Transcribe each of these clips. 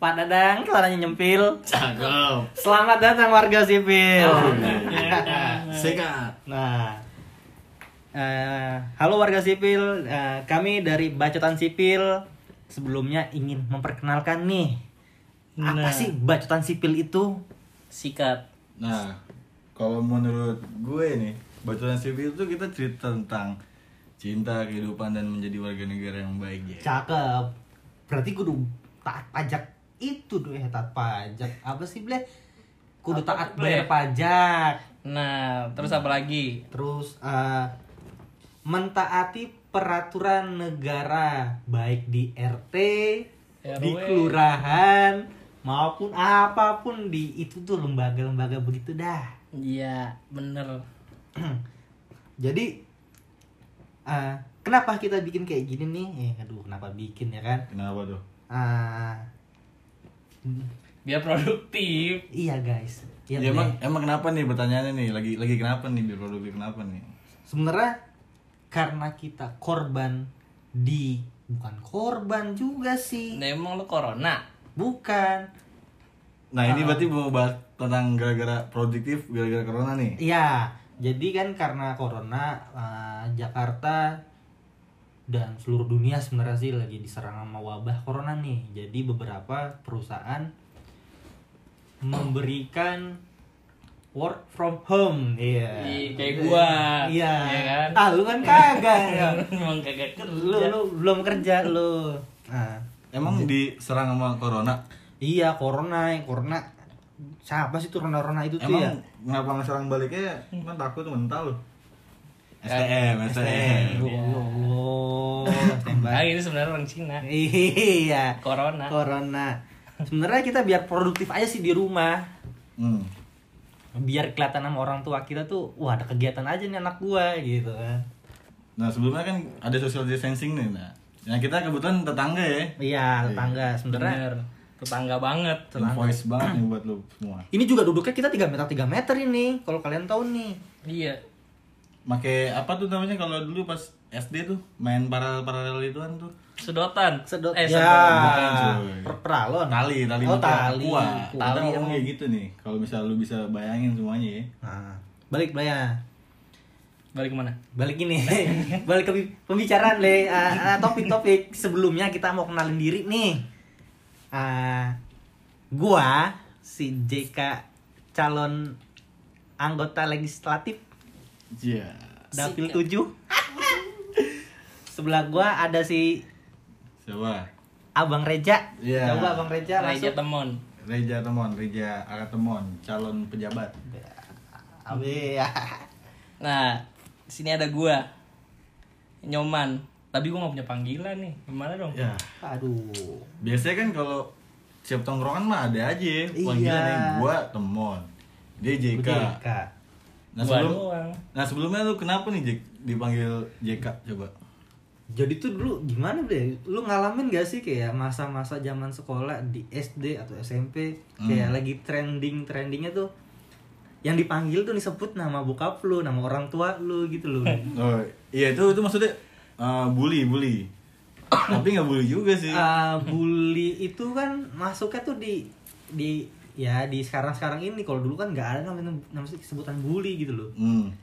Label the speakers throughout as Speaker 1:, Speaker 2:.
Speaker 1: Pak Dadang, celananya nyempil.
Speaker 2: Cakep.
Speaker 1: Selamat datang warga sipil.
Speaker 2: Sikat.
Speaker 1: Nah, eh, halo warga sipil, Eh, kami dari Bacotan Sipil sebelumnya ingin memperkenalkan nih apa
Speaker 3: Nah.
Speaker 1: sih Bacotan Sipil itu?
Speaker 3: sikat
Speaker 2: Nah, kalau menurut gue nih, Baturan Sipil itu kita cerita tentang cinta, kehidupan, dan menjadi warga negara yang baik ya.
Speaker 4: Cakep. Berarti kudu taat pajak itu duh eh taat pajak. Apa sih, Ble? Kudu taat bayar pajak.
Speaker 3: nah terus apa lagi
Speaker 4: Terus eh, mentaati peraturan negara baik di RT, di
Speaker 3: RW.
Speaker 4: kelurahan maupun apapun di itu tuh lembaga-lembaga begitu dah.
Speaker 3: iya bener
Speaker 4: Jadi eh, kenapa kita bikin kayak gini nih? Eh, aduh, kenapa bikin ya kan?
Speaker 2: Kenapa tuh?
Speaker 4: Ah,
Speaker 3: biar produktif
Speaker 4: iya guys. Iya
Speaker 2: Ya,
Speaker 4: deh.
Speaker 2: emang, emang kenapa nih pertanyaannya nih? Lagi lagi kenapa nih? Biar produktif kenapa nih?
Speaker 4: sebenarnya karena kita korban di bukan korban juga sih
Speaker 3: nah emang lu corona
Speaker 4: bukan
Speaker 2: Nah,
Speaker 4: Ah.
Speaker 2: ini berarti mau bahas tentang gara-gara produktif, gara-gara corona nih.
Speaker 4: ya jadi kan karena corona eh, Jakarta dan seluruh dunia sebenarnya sih lagi diserang sama wabah corona nih jadi beberapa perusahaan memberikan work from home iya
Speaker 3: Ih, kayak gua.
Speaker 4: iya
Speaker 3: Iya kan? Iya.
Speaker 4: ah lu kan kagak ya
Speaker 3: emang kagak
Speaker 4: lu,
Speaker 3: kerja
Speaker 4: lu belum kerja lu nah
Speaker 2: Emang diserang sama corona?
Speaker 4: Iya, corona, corona. Siapa sih tuh corona itu tuh
Speaker 2: Emang
Speaker 4: ya?
Speaker 2: kenapa ngeserang baliknya? Kan takut mental loh.
Speaker 4: Eh,
Speaker 2: STM, STM.
Speaker 4: Ya Allah,
Speaker 3: ah
Speaker 4: tembak.
Speaker 3: itu sebenarnya orang Cina
Speaker 4: Iya,
Speaker 3: corona
Speaker 4: corona. Sebenarnya kita biar produktif aja sih di rumah.
Speaker 2: Hmm.
Speaker 4: Biar kelihatan sama orang tua kita tuh, wah ada kegiatan aja nih anak gua gitu kan.
Speaker 2: Nah sebelumnya kan ada social distancing nih, nah. Nah kita kebetulan tetangga ya.
Speaker 4: Iya, tetangga sebenarnya.
Speaker 3: bener tetangga banget
Speaker 2: Invoice banget nih buat lu semua.
Speaker 4: Ini juga duduknya kita 3 meter 3 meter ini, kalau kalian tahu nih.
Speaker 3: iya
Speaker 2: Make apa tuh namanya kalau dulu pas SD tuh main paralel paralel ituan tuh
Speaker 3: sedotan
Speaker 4: Sedot.
Speaker 3: eh,
Speaker 4: ya,
Speaker 3: sedotan.
Speaker 2: bukan, cuy.
Speaker 4: per peralon.
Speaker 2: tali tali
Speaker 4: Oh,
Speaker 2: pakai
Speaker 4: tali. oh.
Speaker 2: aqua.
Speaker 4: Aqua.
Speaker 2: Kita ngomong kayak gitu nih kalau misal lu bisa bayangin semuanya ya.
Speaker 4: Nah, balik Blaya.
Speaker 3: balik kemana
Speaker 4: balik ini balik ke pembicaraan le Ah, ah, topik-topik sebelumnya kita mau kenalin diri nih Ah, gua si JK calon anggota legislatif
Speaker 2: Iya.
Speaker 4: dapil
Speaker 3: Sikat.
Speaker 4: 7 sebelah gua ada si
Speaker 2: Coba
Speaker 4: abang Reja
Speaker 2: Iya.
Speaker 4: coba abang Reja
Speaker 3: Raja
Speaker 4: Ya, masuk
Speaker 3: Temon
Speaker 2: Reja Temon, Reja Akatemon, calon pejabat.
Speaker 4: Abe, ya.
Speaker 3: nah di sini ada gua nyoman tapi gua nggak punya panggilan nih gimana dong
Speaker 2: Ya.
Speaker 4: aduh
Speaker 2: Biasanya kan kalau siap tongkrongan mah ada aja. Iya. Wah
Speaker 4: Iya.
Speaker 2: gila nih gua Temon. Dia JK.
Speaker 4: JK
Speaker 2: Nah,
Speaker 3: gua
Speaker 2: sebelum-
Speaker 3: doang
Speaker 2: Nah sebelumnya lu kenapa nih Jack dipanggil JK coba?
Speaker 4: jadi tuh dulu gimana deh lu ngalamin gak sih kayak masa-masa zaman sekolah di SD atau SMP
Speaker 2: Hmm.
Speaker 4: kayak lagi trending trendingnya tuh yang dipanggil tuh disebut nama bokap lu nama orang tua lu gitu loh
Speaker 2: Oh iya itu itu maksudnya eh, bully bully. Tapi nggak bully juga sih.
Speaker 4: Ah, bully itu kan masuknya tuh di di ya di sekarang sekarang ini kalau dulu kan nggak ada namanya namanya sebutan bully gitu loh
Speaker 2: Hmm.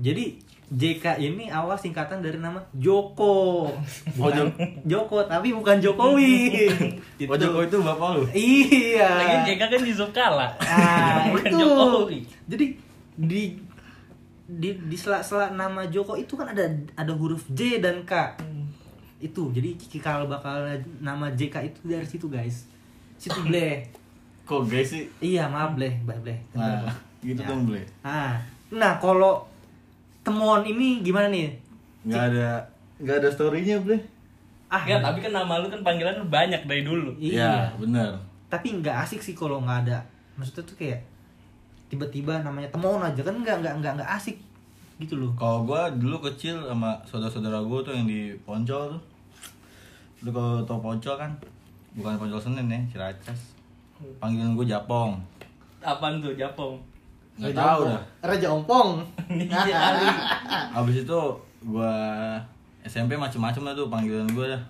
Speaker 4: jadi JK ini awal singkatan dari nama Joko
Speaker 2: Oh,
Speaker 4: bukan Joko tapi bukan Jokowi
Speaker 2: Oh Jokowi itu bapak lu.
Speaker 4: Iya.
Speaker 3: Lagi JK kan Yusuf Kala.
Speaker 4: Ah,
Speaker 3: Bukan
Speaker 4: itu.
Speaker 3: Jokowi.
Speaker 4: Jadi di di di sela-sela nama Joko itu kan ada ada huruf J dan K. Itu. Jadi cikal bakal nama JK itu dari situ, guys. Situ bleh.
Speaker 2: Kok guys sih?
Speaker 4: Iya, maaf bleh, bye bleh.
Speaker 2: Nah gitu
Speaker 4: Ya.
Speaker 2: dong boleh.
Speaker 4: Ah. Nah, kalau temon ini gimana nih?
Speaker 2: Nggak ada nggak ada storynya boleh.
Speaker 4: Ah,
Speaker 3: Enggak, tapi kan nama lu kan panggilan lu banyak dari dulu.
Speaker 4: Iya.
Speaker 2: Ya, benar.
Speaker 4: Tapi nggak asik sih kalau nggak ada. Maksudnya tuh kayak tiba-tiba namanya temon aja kan nggak nggak nggak nggak asik gitu loh.
Speaker 2: Kalau gua dulu kecil sama saudara-saudara gua tuh yang di Poncol tuh. Lu kalau tau Poncol kan bukan Poncol Senen ya, Ciracas.
Speaker 4: Hmm.
Speaker 2: Panggilan gua Japong.
Speaker 3: Apaan tuh Japong?
Speaker 2: Nggak tahu dah.
Speaker 4: Raja Ompong. Nah.
Speaker 2: Abis itu gua SMP macem-macem lah tuh panggilan gua dah.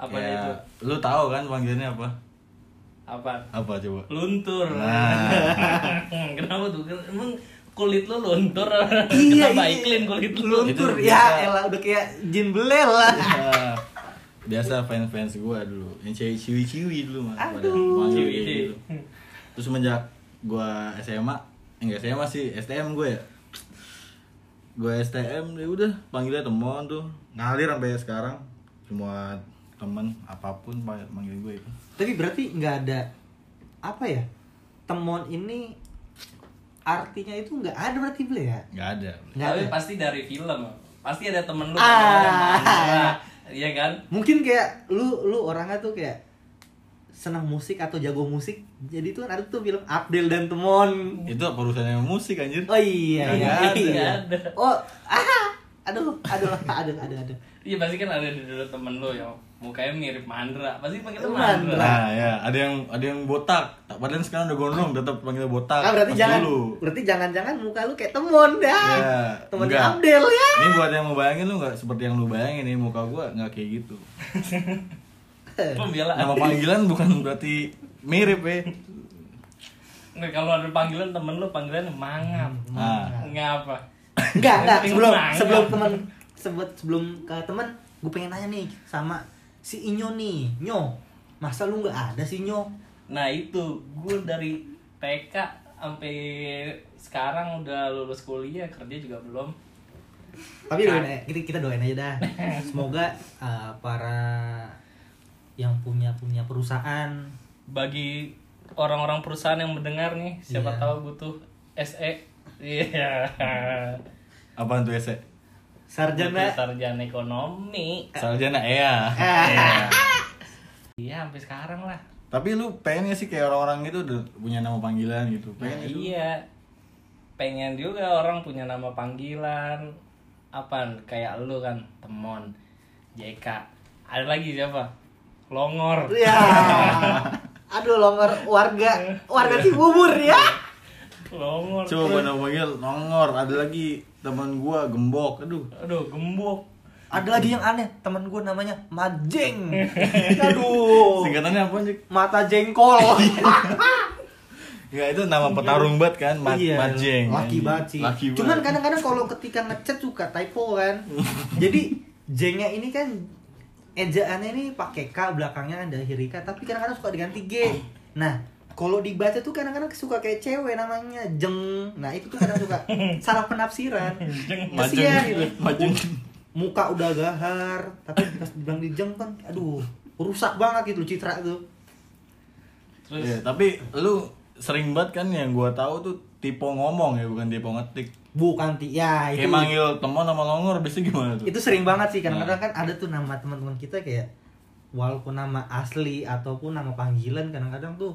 Speaker 3: Apa
Speaker 4: Iya.
Speaker 2: Kayak,
Speaker 3: itu?
Speaker 2: Lu tahu kan panggilannya apa?
Speaker 3: Apa?
Speaker 2: Apa coba?
Speaker 3: Luntur.
Speaker 2: Nah.
Speaker 3: Kenapa tuh? Ken- Emang kulit lu luntur.
Speaker 4: Iya, iya.
Speaker 3: Kenapa iklin kulit lu?
Speaker 4: luntur
Speaker 2: Itu
Speaker 4: ya
Speaker 2: bisa.
Speaker 4: elah udah kayak jin belel lah
Speaker 2: Ya, biasa fans-fans gua dulu yang cewek ciwi-ciwi dulu mah pada manggil
Speaker 3: Ciwi-ciwi.
Speaker 2: gitu. terus semenjak gua SMA enggak SMA sih STM gue ya gua STM ya udah panggilnya teman tuh ngalir sampai sekarang semua temen apapun pa- manggil gue itu
Speaker 4: tapi berarti nggak ada apa ya temon ini artinya itu nggak ada berarti beli ya
Speaker 2: nggak ada
Speaker 4: nggak ada
Speaker 3: Tapi pasti dari film. Pasti ada temen lu
Speaker 4: Ah.
Speaker 3: namanya Mandra. Iya kan?
Speaker 4: mungkin kayak lu lu orangnya tuh kayak senang musik atau jago musik jadi tuh kan ada tuh film Abdel dan Temon
Speaker 2: itu apa urusannya musik anjir
Speaker 4: oh iya
Speaker 2: Nggak
Speaker 4: iya,
Speaker 2: ada.
Speaker 4: iya.
Speaker 3: Nggak ada.
Speaker 4: oh ah aduh aduh aduh aduh aduh
Speaker 3: Iya pasti kan ada di dulu temen lu yang mukanya mirip Mandra. Pasti panggil lu
Speaker 4: Mandra.
Speaker 3: Mandra.
Speaker 2: nah ya ada yang ada yang botak padahal sekarang udah gondrong tetap panggil botak
Speaker 4: Ah, berarti
Speaker 2: Pas
Speaker 4: jangan
Speaker 2: dulu.
Speaker 4: berarti jangan-jangan muka lu kayak Temon dah
Speaker 3: Iya.
Speaker 2: Ya,
Speaker 4: temennya
Speaker 2: enggak.
Speaker 4: Abdel ya
Speaker 2: Ini buat yang mau bayangin lu nggak seperti yang lu bayangin nih muka gua nggak kayak gitu.
Speaker 3: Pembelaan.
Speaker 2: Nama panggilan bukan berarti mirip ya.
Speaker 3: Nggak, kalau ada panggilan temen lu panggilan mangap.
Speaker 2: Nah,
Speaker 3: Ngapa?
Speaker 4: Enggak, enggak.
Speaker 3: Penting
Speaker 4: Hmm. Sebelum
Speaker 3: banget.
Speaker 4: sebelum temen sebut sebelum ke temen, gue pengen nanya nih sama si Inyo nih, Nyo. Masa lu nggak ada sih Nyo?
Speaker 3: Nah itu gue dari TK sampai sekarang udah lulus kuliah kerja juga belum.
Speaker 4: Tapi doain aja- kita, kita doain aja dah. Semoga eh, para yang punya punya perusahaan
Speaker 3: Bagi orang-orang perusahaan yang mendengar nih, siapa
Speaker 4: Iya.
Speaker 3: tahu butuh SE. Iya.
Speaker 2: apaan tuh ese?
Speaker 4: sarjana
Speaker 3: Sarjana sarjana ekonomi.
Speaker 2: Sarjana Ea.
Speaker 4: Ea.
Speaker 3: Iya, sampai sekarang lah.
Speaker 2: Tapi lu pengen nggak sih kayak orang-orang itu udah punya nama panggilan gitu. Pengen
Speaker 3: Nah,
Speaker 2: itu.
Speaker 3: iya. Pengen juga orang punya nama panggilan. Apaan? Kayak lu kan, Temon, JK. Ada lagi siapa? Longor.
Speaker 2: Iya.
Speaker 4: ya. Aduh longgar warga warga Cibubur ya. iya.
Speaker 3: Longor.
Speaker 2: Coba gua nama panggil nongor, ada lagi teman gua gembok. Aduh.
Speaker 3: Aduh, gembok.
Speaker 4: Ada lagi yang aneh, temen gue namanya Majeng. Aduh.
Speaker 2: Singkatannya apa sih?
Speaker 4: Mata jengkol.
Speaker 2: Iya. Ya itu nama petarung banget kan, Mat
Speaker 4: Iya,
Speaker 2: Majeng.
Speaker 4: Laki
Speaker 2: anjing.
Speaker 4: banget sih.
Speaker 2: Laki banget.
Speaker 4: Cuman kadang-kadang kalau ketika ngechat suka typo kan. Jadi jengnya ini kan ejaannya ini pakai K belakangnya ada huruf K tapi kadang-kadang suka diganti G. Nah, kalau dibaca tuh kadang-kadang suka kayak cewek namanya jeng. Nah, itu tuh kadang suka salah penafsiran.
Speaker 2: Majeng. Iya,
Speaker 4: Kesian gitu.
Speaker 2: Majeng.
Speaker 4: Muka udah gahar, tapi pas dibilang dijeng kan aduh, rusak banget gitu citra tuh.
Speaker 3: Terus
Speaker 2: Iya, tapi lu sering banget kan yang gua tahu tuh tipe ngomong ya, bukan tipe ngetik.
Speaker 4: Bukan ti ya itu.
Speaker 2: Kayak manggil teman sama longor biasanya gimana tuh?
Speaker 4: itu sering banget sih kadang-kadang
Speaker 2: Nah.
Speaker 4: kan ada tuh nama teman-teman kita kayak walaupun nama asli ataupun nama panggilan kadang-kadang tuh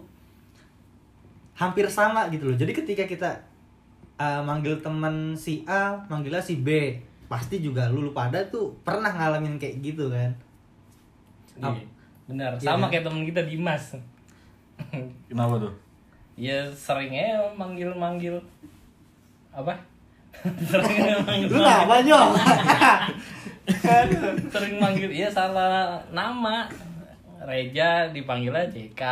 Speaker 4: hampir sama gitu loh jadi ketika kita uh, manggil teman si A manggilnya si B pasti juga lu lu pada tuh pernah ngalamin kayak gitu kan
Speaker 3: Iya, benar.
Speaker 4: Iya
Speaker 3: Sama
Speaker 4: kan?
Speaker 3: kayak temen kita Dimas.
Speaker 2: Kenapa tuh?
Speaker 3: ya seringnya manggil-manggil apa? Sering
Speaker 2: Nah,
Speaker 3: manggil.
Speaker 4: lu apa
Speaker 2: gitu.
Speaker 4: nyok
Speaker 3: sering manggil iya salah nama Reja dipanggilnya JK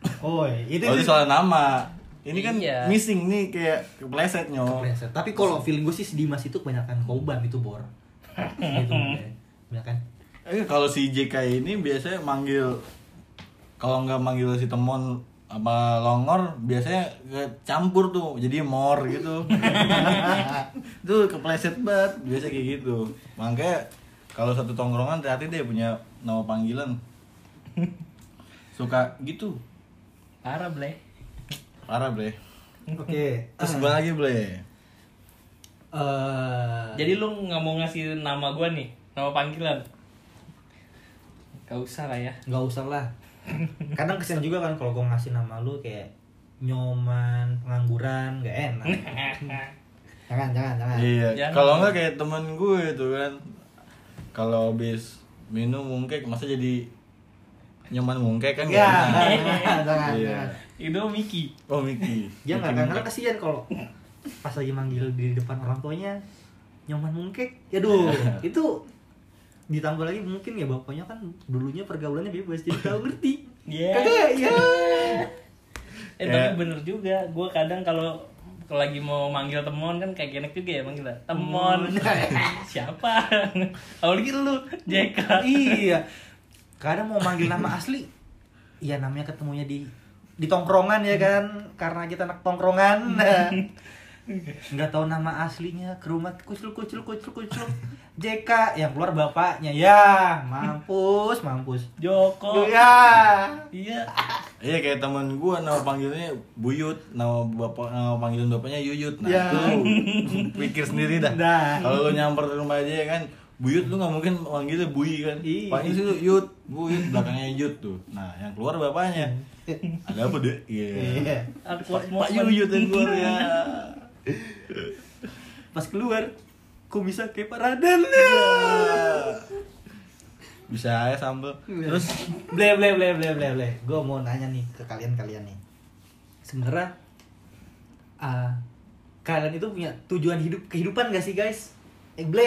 Speaker 4: oh itu,
Speaker 2: Oh,
Speaker 4: itu
Speaker 2: itu soal nama. Ini kan
Speaker 3: Iya.
Speaker 2: missing nih kayak kepleset nyo.
Speaker 4: Kepleset. tapi kalau feeling gue sih si Dimas itu kebanyakan koban itu bor gitu kebanyakan
Speaker 2: Eh, kalau si JK ini biasanya manggil kalau nggak manggil si temon apa longor biasanya ke- campur tuh jadi mor gitu tuh kepleset banget biasa kayak gitu makanya kalau satu tongkrongan hati deh punya nama panggilan suka gitu
Speaker 3: parah bleh
Speaker 2: parah bre
Speaker 4: oke Ah.
Speaker 2: terus gua lagi bre
Speaker 4: Eh,
Speaker 3: jadi lu nggak mau ngasih nama gua nih nama panggilan gak usah lah ya
Speaker 4: nggak usah lah kadang kesian juga kan kalau gue ngasih nama lu kayak nyoman pengangguran nggak enak jangan jangan jangan
Speaker 2: Iya,
Speaker 3: Jangan.
Speaker 2: kalau nggak kayak temen gue itu kan kalau habis minum mungkek masa jadi nyaman mungkek kan
Speaker 4: ya
Speaker 2: nggak enak.
Speaker 4: jangan jangan
Speaker 2: Iya.
Speaker 4: jangan.
Speaker 3: itu Miki
Speaker 2: Oh Miki.
Speaker 4: dia nggak
Speaker 2: Miki
Speaker 4: kadang
Speaker 2: mungkek.
Speaker 4: kesian kalau pas lagi manggil di depan orang tuanya nyoman mungkek ya duh itu ditambah lagi mungkin ya bapaknya kan dulunya pergaulannya bebas jadi tahu ngerti
Speaker 3: Iya.
Speaker 4: kagak ya
Speaker 2: Ya.
Speaker 3: Eh tapi bener juga, gue kadang kalau kalau lagi mau manggil temon kan kayak genek juga ya manggil temon siapa apalagi lu JK
Speaker 4: iya kadang mau manggil nama asli ya namanya ketemunya di di tongkrongan ya kan karena kita anak tongkrongan nggak tahu nama aslinya ke rumah kucul kucul kucul kucul JK yang keluar bapaknya ya mampus mampus
Speaker 3: Joko
Speaker 4: ya
Speaker 3: iya
Speaker 2: Iya kayak teman gua nama panggilnya Buyut, nama bapak nama panggilan bapaknya Yuyut. Nah,
Speaker 4: Ya.
Speaker 2: lu pikir sendiri dah.
Speaker 4: Dah.
Speaker 2: Kalau lu nyamper ke rumah aja ya kan, Buyut lu nggak mungkin panggilnya Buyi kan.
Speaker 4: Iya.
Speaker 2: Panggil sih lu Yut, Buyut belakangnya Yut tuh. Nah, yang keluar bapaknya. Ada apa, Dek? Iya.
Speaker 4: Iya.
Speaker 3: aku
Speaker 2: Pak Pak Yuyut yang keluar ya.
Speaker 4: pas keluar kok bisa kayak Pak Raden
Speaker 2: Iya. Bisa ya sambel.
Speaker 4: terus ble ble ble ble ble ble gue mau nanya nih ke kalian kalian nih sebenarnya ah, kalian itu punya tujuan hidup kehidupan gak sih guys eh ble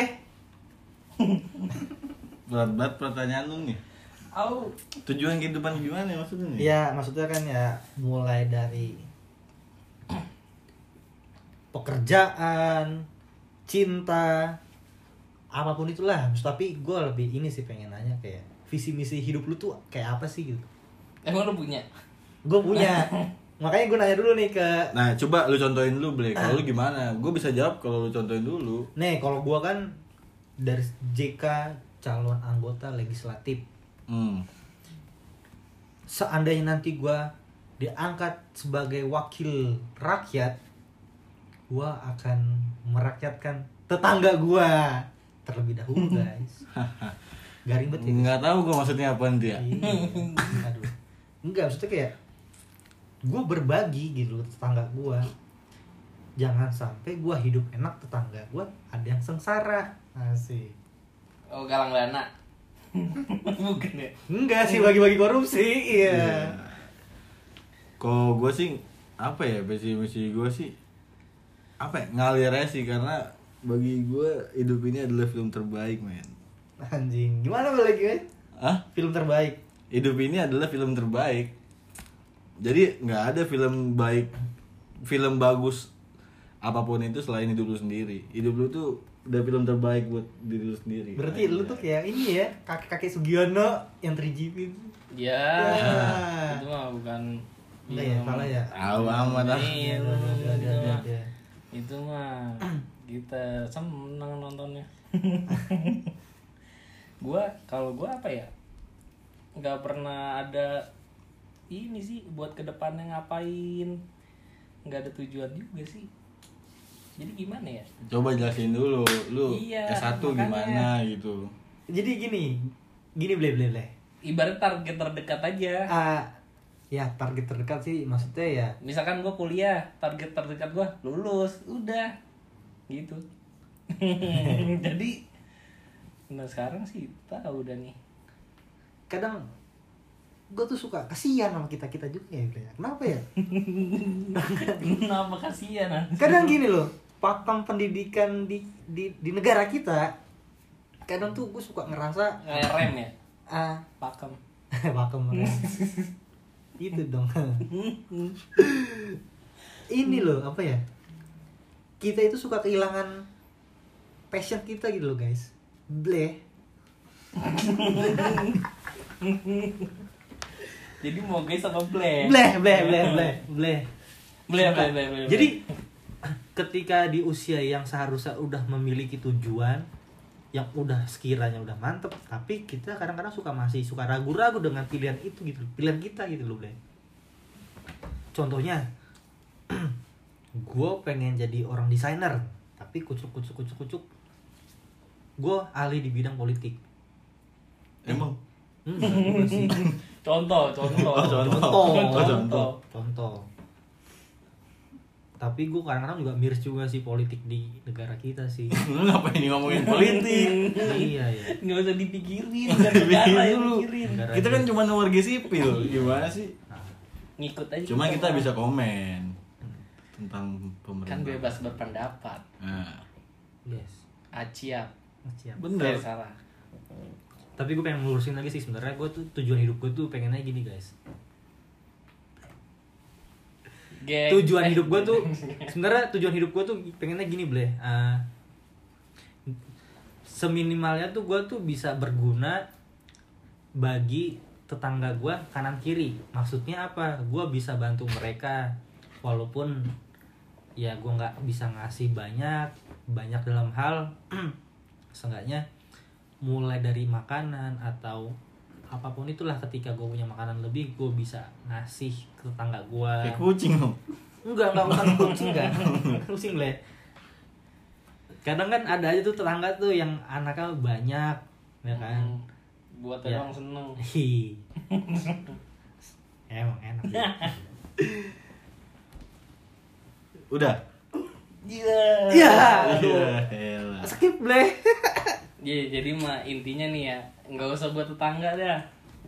Speaker 2: Berat banget pertanyaan lu nih.
Speaker 3: Au.
Speaker 2: Tujuan kehidupan gimana maksudnya nih?
Speaker 4: ya maksudnya kan ya mulai dari pekerjaan cinta apapun itulah tapi gue lebih ini sih pengen nanya kayak visi misi hidup lu tuh kayak apa sih gitu
Speaker 3: emang lu punya
Speaker 4: gue punya makanya gue nanya dulu nih ke
Speaker 2: Nah, coba lu contohin dulu, Blake.
Speaker 4: Ah.
Speaker 2: Kalau lu gimana? Gue bisa jawab kalau lu contohin dulu.
Speaker 4: nih kalau gue kan dari JK calon anggota legislatif
Speaker 2: Hmm.
Speaker 4: seandainya nanti gue diangkat sebagai wakil rakyat gue akan merakyatkan tetangga gue terlebih dahulu guys garing banget ya
Speaker 2: Nggak tahu gue maksudnya ya. apaan dia.
Speaker 4: Iya. Aduh. Enggak, maksudnya kayak gue berbagi gitu loh ke tetangga gue. Jangan sampai gue hidup enak tetangga gue ada yang sengsara. Asik.
Speaker 3: oh galang dana bukan ya
Speaker 4: Enggak sih bagi-bagi korupsi, iya.
Speaker 2: Kalau gue sih apa ya visi misi gue sih apa ya? ngalir aja sih karena bagi gue hidup ini adalah film terbaik men.
Speaker 4: Anjing, gimana boleh gue?
Speaker 2: Hah?
Speaker 4: Film terbaik.
Speaker 2: Hidup ini adalah film terbaik. Jadi nggak ada film baik, film bagus apapun itu selain hidup lu sendiri. Hidup lu tuh udah film terbaik buat diri lu sendiri.
Speaker 4: Berarti lu tuh kayak ini ya, kakek-kakek Sugiono yang terjibin.
Speaker 3: ya
Speaker 4: Ya.
Speaker 3: itu mah bukan
Speaker 4: Enggak ya, salah ya.
Speaker 2: Tahu amat ah.
Speaker 3: Iya,
Speaker 4: Iya, iya, iya, iya,
Speaker 3: itu mah
Speaker 4: iya.
Speaker 3: itu mah kita seneng nontonnya gua kalau gua apa ya nggak pernah ada ini sih buat kedepannya ngapain nggak ada tujuan juga sih jadi gimana ya
Speaker 2: Coba jelasin dulu, lu
Speaker 3: Iya,
Speaker 2: S1 gimana
Speaker 3: makanya.
Speaker 2: gitu.
Speaker 4: Jadi gini, gini ble ble ble.
Speaker 3: ibarat target terdekat aja
Speaker 4: Ah, ya target terdekat sih maksudnya ya
Speaker 3: misalkan gua kuliah target terdekat gua lulus udah gitu jadi nah sekarang sih tahu udah nih
Speaker 4: kadang gue tuh suka kasihan sama kita kita juga ya Bre. kenapa ya
Speaker 3: Kenapa kasihan anjing?
Speaker 4: kadang gini loh pakem pendidikan di di, di negara kita kadang tuh gue suka ngerasa
Speaker 3: Kayak rem ya,
Speaker 4: ah
Speaker 3: pakem.
Speaker 4: pakem itu dong ini loh apa ya kita itu suka kehilangan passion kita gitu loh guys bleh
Speaker 3: Jadi mau guys sama bleh.
Speaker 4: bleh bleh bleh bleh bleh
Speaker 3: Bleh bleh
Speaker 4: Suka.
Speaker 3: bleh. bleh.
Speaker 4: Jadi ketika di usia yang seharusnya udah memiliki tujuan yang udah sekiranya udah mantep tapi kita kadang-kadang suka masih suka ragu-ragu dengan pilihan itu gitu pilihan kita gitu loh Blay. contohnya gue pengen jadi orang desainer tapi kucuk kucuk kucuk kucuk gue ahli di bidang politik
Speaker 2: Emang
Speaker 4: Hmm, gua sih.
Speaker 3: contoh, contoh.
Speaker 2: Oh, contoh.
Speaker 4: contoh
Speaker 2: Oh, contoh.
Speaker 4: contoh tapi gue kadang-kadang juga miris juga sih politik di negara kita sih
Speaker 2: lu ngapain nih ngomongin politik?
Speaker 4: iya ya
Speaker 3: Nggak usah dipikirin, nggak negara yang pikirin.
Speaker 4: Negara
Speaker 2: kita kan cuma warga sipil, gimana sih?
Speaker 4: Nah,
Speaker 3: Ngikut aja.
Speaker 2: Cuma kita bisa komen tentang pemerintah.
Speaker 3: kan bebas berpendapat.
Speaker 2: Nah,
Speaker 4: yes
Speaker 3: Aciap.
Speaker 4: siap
Speaker 2: bener.
Speaker 3: Eh, salah.
Speaker 4: tapi gue pengen melurusin lagi sih sebenarnya gue tuh tujuan hidup gue tuh pengennya gini guys
Speaker 3: Geng.
Speaker 4: tujuan hidup gue tuh sebenarnya tujuan hidup gue tuh pengennya gini bleh Ah, seminimalnya tuh gue tuh bisa berguna bagi tetangga gue kanan kiri maksudnya apa gue bisa bantu mereka walaupun ya gue nggak bisa ngasih banyak banyak dalam hal seenggaknya mulai dari makanan atau apapun itulah ketika gue punya makanan lebih gue bisa ngasih ke tetangga gue
Speaker 2: Kayak kucing lu.
Speaker 4: Enggak, enggak bukan kucing enggak. kucing le. Kadang kan ada aja tuh tetangga tuh yang anaknya banyak, ya kan?
Speaker 3: Hmm. buat
Speaker 4: Ya.
Speaker 3: orang seneng
Speaker 2: Hmm.
Speaker 4: Hi. Emang enak. ya.
Speaker 2: Udah.
Speaker 4: Iya.
Speaker 2: Iya,
Speaker 4: aduh.
Speaker 2: elah.
Speaker 4: Skip bleh.
Speaker 3: Ya, jadi mah intinya nih ya, nggak usah buat tetangga dah.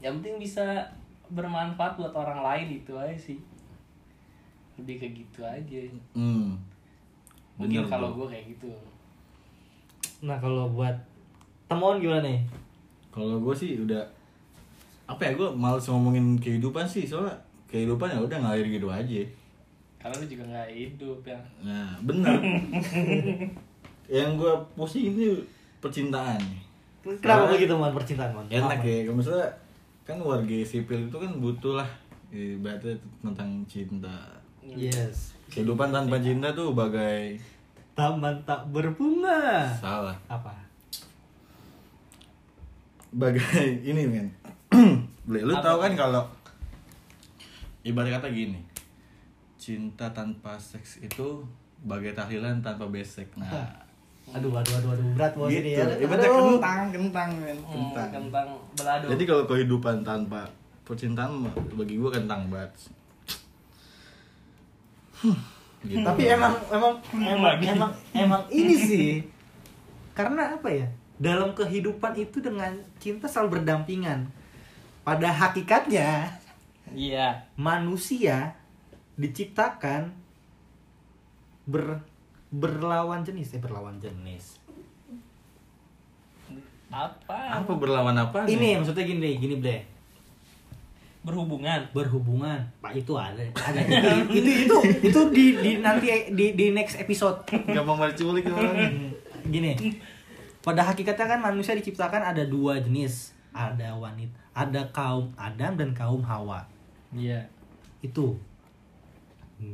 Speaker 3: Yang penting bisa bermanfaat buat orang lain itu aja sih. Lebih ke gitu aja.
Speaker 2: Hmm. Bener
Speaker 3: Mungkin kalau
Speaker 2: tuh.
Speaker 3: gue kayak gitu.
Speaker 4: Nah, kalau buat temuan gimana nih?
Speaker 2: Kalau gue sih udah apa ya gue males ngomongin kehidupan sih soalnya kehidupan ya udah ngalir gitu aja.
Speaker 3: Karena lu juga nggak hidup ya.
Speaker 2: Nah bener. Yang gue pusing ini percintaan.
Speaker 4: Kenapa begitu temuan percintaan, Mon?
Speaker 2: Enak
Speaker 4: Kenapa?
Speaker 2: ya kalau misalnya kan warga sipil itu kan butuh lah ibaratnya tentang cinta
Speaker 4: Yes.
Speaker 2: kehidupan tanpa cinta tuh bagai
Speaker 4: Taman tak berbunga.
Speaker 2: salah
Speaker 4: Apa?
Speaker 2: bagai ini men Beli, lu
Speaker 3: Apa
Speaker 2: tahu kan kalau ibarat kata gini cinta tanpa seks itu bagai tahlilan tanpa besek nah
Speaker 4: Aduh, aduh, aduh, aduh. Berat bos
Speaker 2: gitu
Speaker 4: ini ya.
Speaker 2: ibaratnya
Speaker 4: Aduh.
Speaker 2: kentang kentang men
Speaker 3: Hmm,
Speaker 2: kentang
Speaker 3: tentang belado.
Speaker 2: jadi kalau kehidupan tanpa percintaan bagi gua kentang banget Hmm, gitu.
Speaker 4: tapi emang emang emang emang emang ini sih karena apa ya dalam kehidupan itu dengan cinta selalu berdampingan pada hakikatnya
Speaker 3: Iya.
Speaker 4: manusia diciptakan ber berlawan jenis eh berlawan jenis
Speaker 3: Apa?
Speaker 2: apa berlawan apa
Speaker 4: ini maksudnya gini gini deh
Speaker 3: Berhubungan.
Speaker 4: berhubungan pak itu ada ada itu itu itu, itu di, di nanti di, di next episode
Speaker 2: gampang banget culik orang
Speaker 4: gini pada hakikatnya kan manusia diciptakan ada dua jenis ada wanita ada kaum Adam dan kaum Hawa
Speaker 3: Iya.
Speaker 4: itu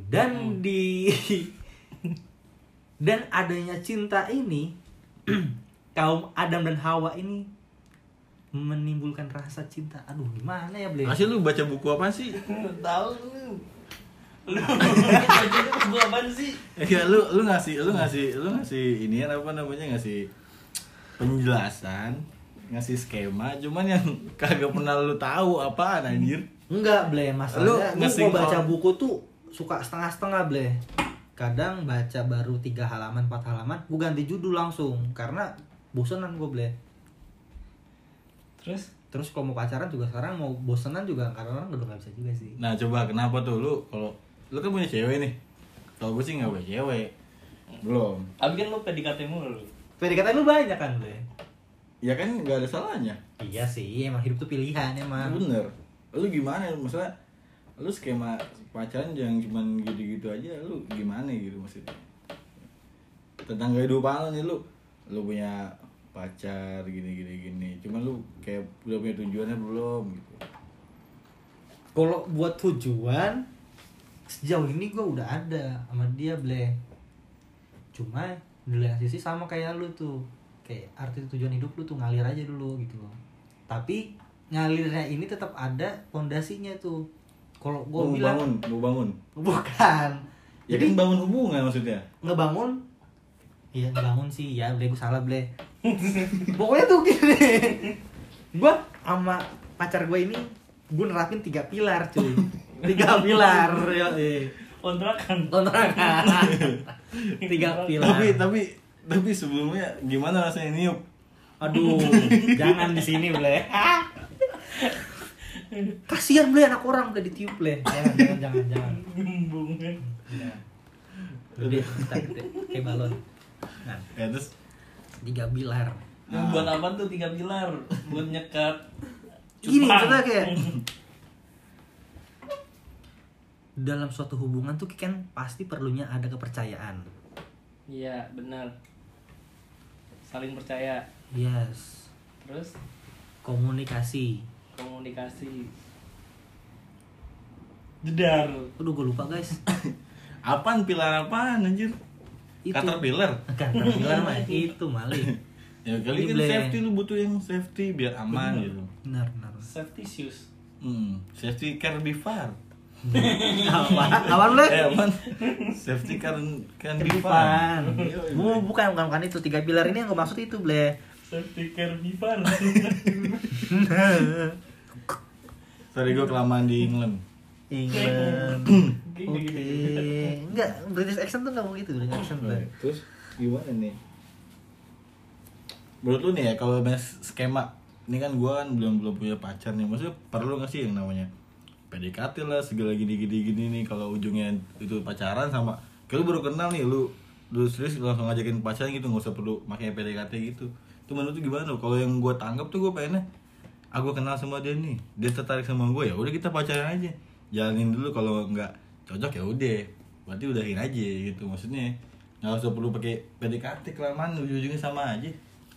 Speaker 4: dan di dan adanya cinta ini kaum Adam dan Hawa ini menimbulkan rasa cinta aduh gimana ya Ble
Speaker 2: Masih lu baca buku apa sih?
Speaker 3: Tahu lu. Lu bajunya gua apaan sih?
Speaker 2: Ya lu lu ngasih lu ngasih lu ngasih ini apa namanya ngasih penjelasan, ngasih skema, cuman yang kagak pernah lu tahu apaan anjir.
Speaker 4: Enggak, Ble.
Speaker 2: Lu
Speaker 4: Masalahnya gue
Speaker 2: ngesing-
Speaker 4: mau baca buku tuh suka setengah-setengah, Ble. Kadang baca baru tiga halaman, empat halaman, gue ganti judul langsung karena bosenan gue, Ble.
Speaker 3: Terus
Speaker 4: Terus kalau mau pacaran juga sekarang mau bosenan juga karena orang udah gak bisa juga sih.
Speaker 2: Nah, coba kenapa tuh lu kalau lu kan punya cewek nih. Kalau gue sih nggak punya cewek. Belum.
Speaker 3: Tapi kan lu PDKT mulu lu.
Speaker 4: PDKT lu banyak kan, Ble?
Speaker 2: Ya kan nggak ada salahnya.
Speaker 4: Iya sih, emang hidup tuh pilihan emang.
Speaker 2: Bener. Lu gimana maksudnya? Lu skema pacaran jangan cuman gitu-gitu aja, lu gimana gitu maksudnya? Tentang kehidupan lu nih lu, lu punya pacar gini-gini gini. Cuman lu kayak udah punya tujuannya belum gitu.
Speaker 4: Kalau buat tujuan sejauh ini gue udah ada sama dia, Ble. Cuma di lain sisi sama kayak lu tuh. Kayak arti tujuan hidup lu tuh ngalir aja dulu gitu loh. Tapi ngalirnya ini tetap ada pondasinya tuh. Kalau gue
Speaker 2: Lu mau
Speaker 4: bilang
Speaker 2: bangun, mau bangun.
Speaker 4: bukan.
Speaker 2: Ya
Speaker 4: Jadi
Speaker 2: kan bangun hubungan maksudnya.
Speaker 4: ngebangun Iya ngebangun sih ya Ble gue salah Ble Pokoknya tuh gini Gue sama pacar gue ini Gue nerapin tiga pilar cuy Tiga pilar ya,
Speaker 3: Kontrakan.
Speaker 4: Kontrakan Tiga pilar
Speaker 2: Tapi tapi tapi sebelumnya gimana rasanya niup?
Speaker 4: Aduh Jangan di sini Ble Kasian Ble anak orang udah ditiup Ble Jangan jangan jangan, jangan.
Speaker 3: Gembung kan.
Speaker 4: Jangan. Gede, kita gede, kayak balon. Nah,
Speaker 2: Ya terus
Speaker 4: tiga pilar
Speaker 3: Nah, buat apa tuh tiga pilar? Buat nyekat.
Speaker 4: Gini,
Speaker 3: cupang.
Speaker 4: maksudnya kayak dalam suatu hubungan tuh kan pasti perlunya ada kepercayaan.
Speaker 3: Iya, benar. Saling percaya.
Speaker 4: Yes,
Speaker 3: Terus
Speaker 4: komunikasi.
Speaker 3: komunikasi. Jedar.
Speaker 4: Aduh, gue lupa guys.
Speaker 2: Apaan pilar apaan anjir?
Speaker 4: Itu.
Speaker 2: Caterpillar.
Speaker 4: Kan terbilang mah itu Mali.
Speaker 2: Ya kali kan
Speaker 4: Dible.
Speaker 2: safety lu butuh yang safety biar aman gitu.
Speaker 4: Benar, benar.
Speaker 3: Safety shoes.
Speaker 2: Hmm, safety carnivore.
Speaker 4: Apa? Apa lu?
Speaker 2: Eh, apaan? safety carn carnivore.
Speaker 4: Depan. Bu, bukan, bukan, bukan itu. Tiga pilar ini yang gue maksud itu, Ble.
Speaker 3: Safety carnivore.
Speaker 2: Sorry gue kelamaan di England.
Speaker 4: England.
Speaker 3: Gini,
Speaker 4: Oke.
Speaker 3: gini,
Speaker 4: Enggak, British accent tuh nggak begitu British accent. Ble.
Speaker 2: Nah, Terus gimana nih? Menurut lu nih ya kalau bahas skema ini kan gue kan belum belum punya pacar nih maksudnya perlu nggak sih yang namanya PDKT lah segala gini gini gini nih kalau ujungnya itu pacaran sama kalau baru kenal nih lu lu serius lu langsung ngajakin pacaran gitu nggak usah perlu makanya PDKT gitu itu menurut lu gimana kalau yang gue tanggap tuh gue pengennya aku Ah, kenal sama dia nih dia tertarik sama gue ya udah kita pacaran aja jalanin dulu kalau nggak cocok ya udah berarti udahin aja gitu maksudnya nggak usah perlu pakai PDKT kelamaan ujung-ujungnya sama aja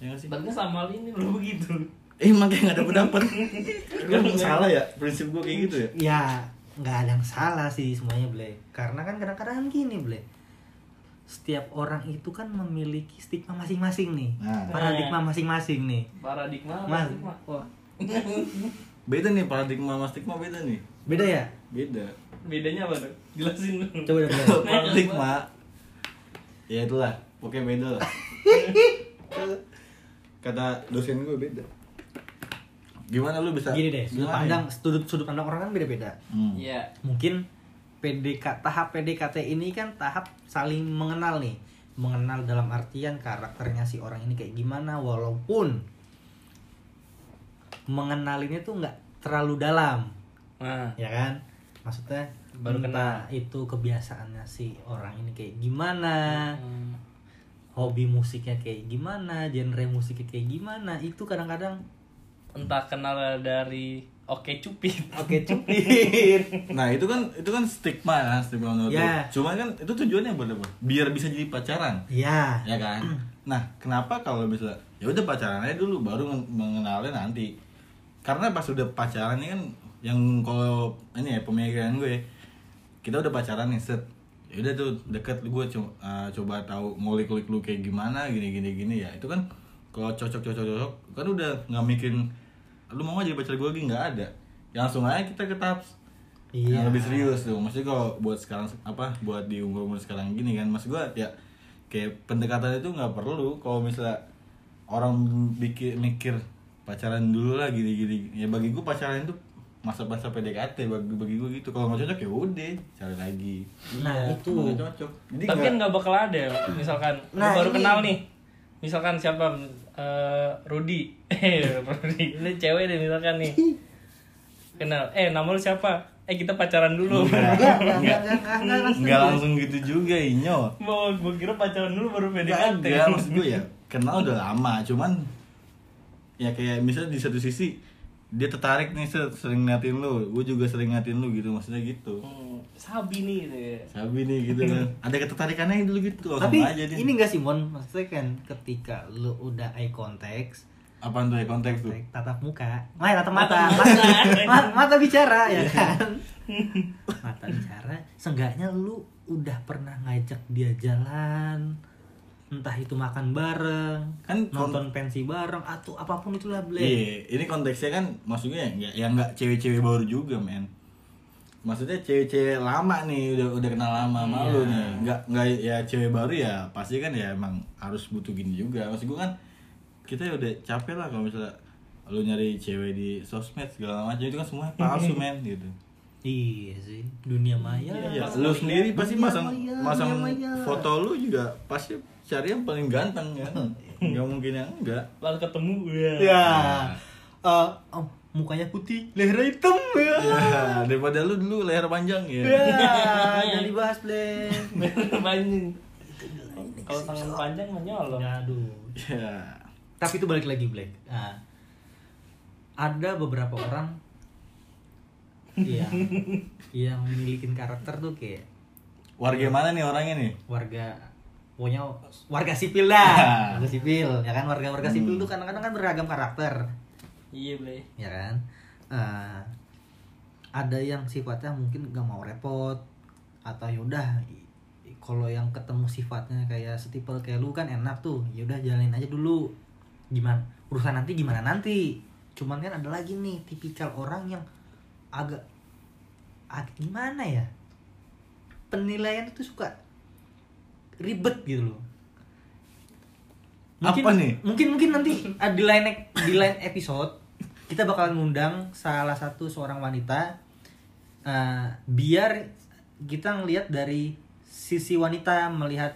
Speaker 2: ya nggak sih
Speaker 3: Berarti sama ini lu begitu.
Speaker 2: Eh makanya gak dapet dapet Kan salah ya prinsip gue kayak gitu ya
Speaker 4: Ya, nggak ada yang salah sih semuanya, Ble. Karena kan kadang-kadang gini, Ble. Setiap orang itu kan memiliki stigma masing-masing nih.
Speaker 2: Nah.
Speaker 4: Paradigma masing-masing nih.
Speaker 3: Paradigma,
Speaker 4: Mas,
Speaker 3: paradigma.
Speaker 4: wah,
Speaker 2: Beda nih paradigma sama stigma beda nih
Speaker 4: beda ya?
Speaker 2: Beda
Speaker 3: Bedanya apa tuh? Jelasin dulu.
Speaker 4: Coba deh, Ble.
Speaker 2: Iya. Paradigma Ya itulah Pokoknya beda lah Kata dosen gue beda Gimana lu bisa
Speaker 4: Gini deh, sudut
Speaker 2: Gimana ya?
Speaker 4: pandang, sudut sudut pandang orang kan beda-beda.
Speaker 2: Hmm.
Speaker 3: Iya.
Speaker 4: mungkin PDK tahap PDKT ini kan tahap saling mengenal nih mengenal dalam artian karakternya si orang ini kayak gimana walaupun mengenalinya tuh nggak terlalu dalam
Speaker 3: Nah,
Speaker 4: ya kan maksudnya
Speaker 3: Baru
Speaker 4: entah itu kebiasaannya si orang ini kayak gimana
Speaker 3: hmm.
Speaker 4: hobi musiknya kayak gimana genre musiknya kayak gimana itu kadang-kadang
Speaker 3: entah kenal dari Oke Cupid.
Speaker 4: oke cupin
Speaker 2: Nah itu kan itu kan stigma kan stigma menurut lu.
Speaker 4: Ya.
Speaker 2: Cuman kan itu tujuannya buat apa? Biar bisa jadi pacaran
Speaker 4: ya
Speaker 2: ya kan nah kenapa kalau misalnya ya udah pacaran aja dulu baru men- mengenalnya nanti karena pas udah pacaran ini kan yang kalau ini ya pemikiran gue kita udah pacaran nih set ya udah tuh deket gue coba, coba tahu ngulik-ngulik lu kayak gimana gini gini gini ya itu kan kalau cocok cocok cocok kan udah nggak mikirin lu mau nggak jadi pacar gue lagi nggak ada Ya langsung aja kita ke tahap
Speaker 4: Iya.
Speaker 2: yang lebih serius tuh maksudnya kalau buat sekarang apa buat di umur umur sekarang gini kan mas gua ya kayak pendekatan itu nggak perlu kalau misalnya orang bikin mikir pacaran dulu lah gini gini ya bagi gua pacaran itu masa-masa PDKT bagi bagi gua gitu kalau nggak cocok ya udah cari lagi
Speaker 4: nah
Speaker 2: Kalau
Speaker 4: itu
Speaker 2: nggak cocok jadi
Speaker 3: Tapi kan
Speaker 2: nggak
Speaker 3: nggak bakal ada ya, misalkan lu
Speaker 4: Nah,
Speaker 3: baru
Speaker 4: ini-
Speaker 3: kenal nih. Misalkan siapa? Eh, Rudi. Eh, Rudi. Ini cewek deh misalkan nih. Kenal. Eh, nama lu siapa? Eh, kita pacaran dulu.
Speaker 2: Iya.
Speaker 4: Nggak, nggak, nggak, nggak, nggak, nggak.
Speaker 2: nggak langsung gitu juga inyo
Speaker 3: Mau gua kira pacaran dulu baru PDKT.
Speaker 2: Enggak, maksud gue ya kenal udah lama, cuman ya kayak misalnya di satu sisi dia tertarik nih ser- sering ngeliatin lu, gue juga sering ngeliatin lu gitu maksudnya gitu.
Speaker 3: Hmm, Sabi nih gitu ya.
Speaker 2: Sabi nih gitu kan, ada ketertarikannya dulu gitu langsung
Speaker 4: tapi
Speaker 2: aja dia.
Speaker 4: ini enggak sih mon maksudnya kan ketika lu udah eye contact
Speaker 2: Apaan tuh ya konteks tuh?
Speaker 4: contact, tatap muka main tatap mata mata, ma- mata bicara
Speaker 2: Iya.
Speaker 4: ya kan mata bicara seenggaknya lu udah pernah ngajak dia jalan entah itu makan bareng
Speaker 2: Kan kon-
Speaker 4: nonton pensi bareng atau apapun itulah ble
Speaker 2: Iya, ini konteksnya kan maksudnya ya nggak ya nggak cewek-cewek baru juga men. Maksudnya cewek-cewek lama nih udah udah kenal lama sama
Speaker 4: Iya.
Speaker 2: lu nih. Nggak nggak ya cewek baru ya pasti kan ya emang harus butuh gini juga. Maksud gue kan kita ya udah capek lah kalau misalnya lu nyari cewek di sosmed segala macam itu kan semua palsu men gitu.
Speaker 4: iya sih dunia maya
Speaker 2: Iya, lu sendiri pasti
Speaker 4: Iya,
Speaker 2: masang
Speaker 4: iya,
Speaker 2: masang
Speaker 4: iya, iya.
Speaker 2: foto lu juga pasti cari yang paling ganteng kan. Nggak mungkin yang enggak.
Speaker 3: Lalu ketemu ya.
Speaker 2: Iya.
Speaker 4: ya Eh, oh, mukanya putih lehernya hitam ya
Speaker 2: Ya, daripada lu dulu leher panjang ya.
Speaker 4: Ya, jangan dibahas, Ble.
Speaker 3: Ya. Panjang. Kalau tangan panjang menyolong.
Speaker 4: Aduh.
Speaker 2: Ya.
Speaker 4: tapi itu balik lagi Black Nah, ada beberapa orang yang yang memiliki karakter tuh kayak
Speaker 2: Warga mana nih orangnya nih?
Speaker 4: warga pokoknya warga sipil dah warga sipil ya kan warga warga sipil tuh kadang-kadang kan beragam karakter
Speaker 3: Iya, Bre.
Speaker 4: ya kan Eh, ada yang sifatnya mungkin gak mau repot atau yaudah i- i- kalau yang ketemu sifatnya kayak setipe kayak lu kan enak tuh yaudah jalanin aja dulu gimana urusan nanti gimana nanti cuman kan ada lagi nih tipikal orang yang agak agak gimana ya penilaian itu suka ribet gitu loh
Speaker 2: Apa nih?
Speaker 4: mungkin mungkin nanti ah, di lain di lain episode kita bakalan ngundang salah satu seorang wanita eh, biar kita ngelihat dari sisi wanita melihat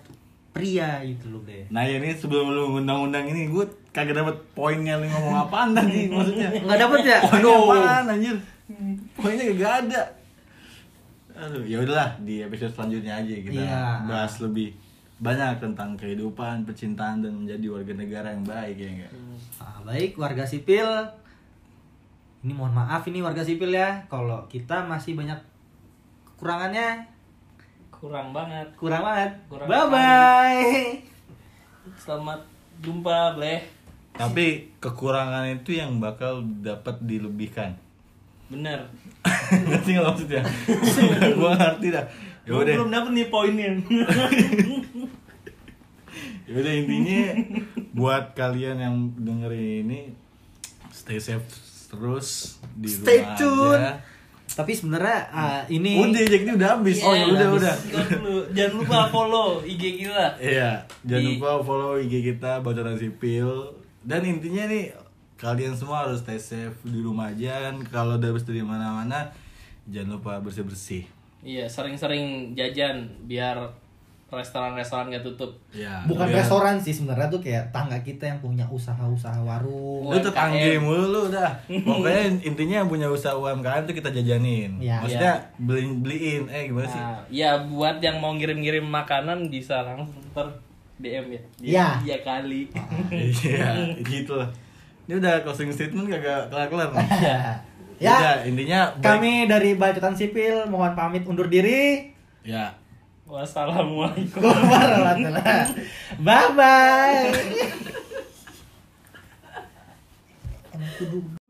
Speaker 4: pria gitu loh deh
Speaker 2: Nah ya ini sebelum lu undang-undang ini gue kagak dapet poinnya lu ngomong apaan tadi maksudnya
Speaker 4: nggak dapet ya
Speaker 2: Poinnya
Speaker 4: Aduh.
Speaker 2: apaan anjir? Poinnya kagak ada Aduh ya udahlah di episode selanjutnya aja kita
Speaker 4: Iya.
Speaker 2: bahas lebih banyak tentang kehidupan, percintaan dan menjadi warga negara yang baik ya enggak?
Speaker 4: Ah, baik warga sipil ini mohon maaf ini warga sipil ya kalau kita masih banyak kekurangannya
Speaker 3: Kurang banget.
Speaker 4: kurang banget
Speaker 3: Kurang
Speaker 4: bye bye
Speaker 3: Selamat jumpa, Bre.
Speaker 2: Tapi kekurangan itu yang bakal dapat dilebihkan.
Speaker 3: Bener.
Speaker 2: ngerti nggak maksudnya? gue ngerti dah. Ya
Speaker 3: Gua
Speaker 2: udah.
Speaker 3: belum dapet nih poinnya.
Speaker 2: Ya udah intinya buat kalian yang dengerin ini stay safe terus di
Speaker 4: Stay
Speaker 2: rumah
Speaker 4: tune.
Speaker 2: aja.
Speaker 4: tapi sebenarnya ah, ini
Speaker 2: Udah, Jack, ini udah habis. Oh, ya
Speaker 3: Iya,
Speaker 2: udah,
Speaker 3: habis.
Speaker 2: udah.
Speaker 3: Tinggal dulu. Jangan lupa follow IG kita.
Speaker 2: Iya, jangan
Speaker 3: Di-
Speaker 2: lupa follow IG kita Bocoran Sipil. Dan intinya nih kalian semua harus stay safe di rumah aja kan. Kalau udah habis dari mana-mana jangan lupa bersih-bersih.
Speaker 3: Iya, sering-sering jajan biar restoran-restoran gak tutup.
Speaker 2: Ya.
Speaker 4: bukan
Speaker 2: biar-
Speaker 4: restoran sih sebenarnya tuh kayak tangga kita yang punya usaha-usaha warung
Speaker 2: Lu tetangga mulu lu udah. Pokoknya intinya yang punya usaha UMKM tuh kita jajanin.
Speaker 4: Iya.
Speaker 2: Maksudnya beliin beliin eh gimana sih?
Speaker 3: Nah, ya buat yang mau ngirim-ngirim makanan bisa langsung ter DM ya.
Speaker 4: Iya.
Speaker 3: Iya kali.
Speaker 2: Iya, gitu lah. Ini udah closing statement kagak kelar-kelar.
Speaker 4: Ya.
Speaker 2: Udah, intinya baik-
Speaker 4: kami dari bacotan sipil mohon pamit undur diri
Speaker 2: ya
Speaker 3: Wassalamualaikum.
Speaker 4: bye bye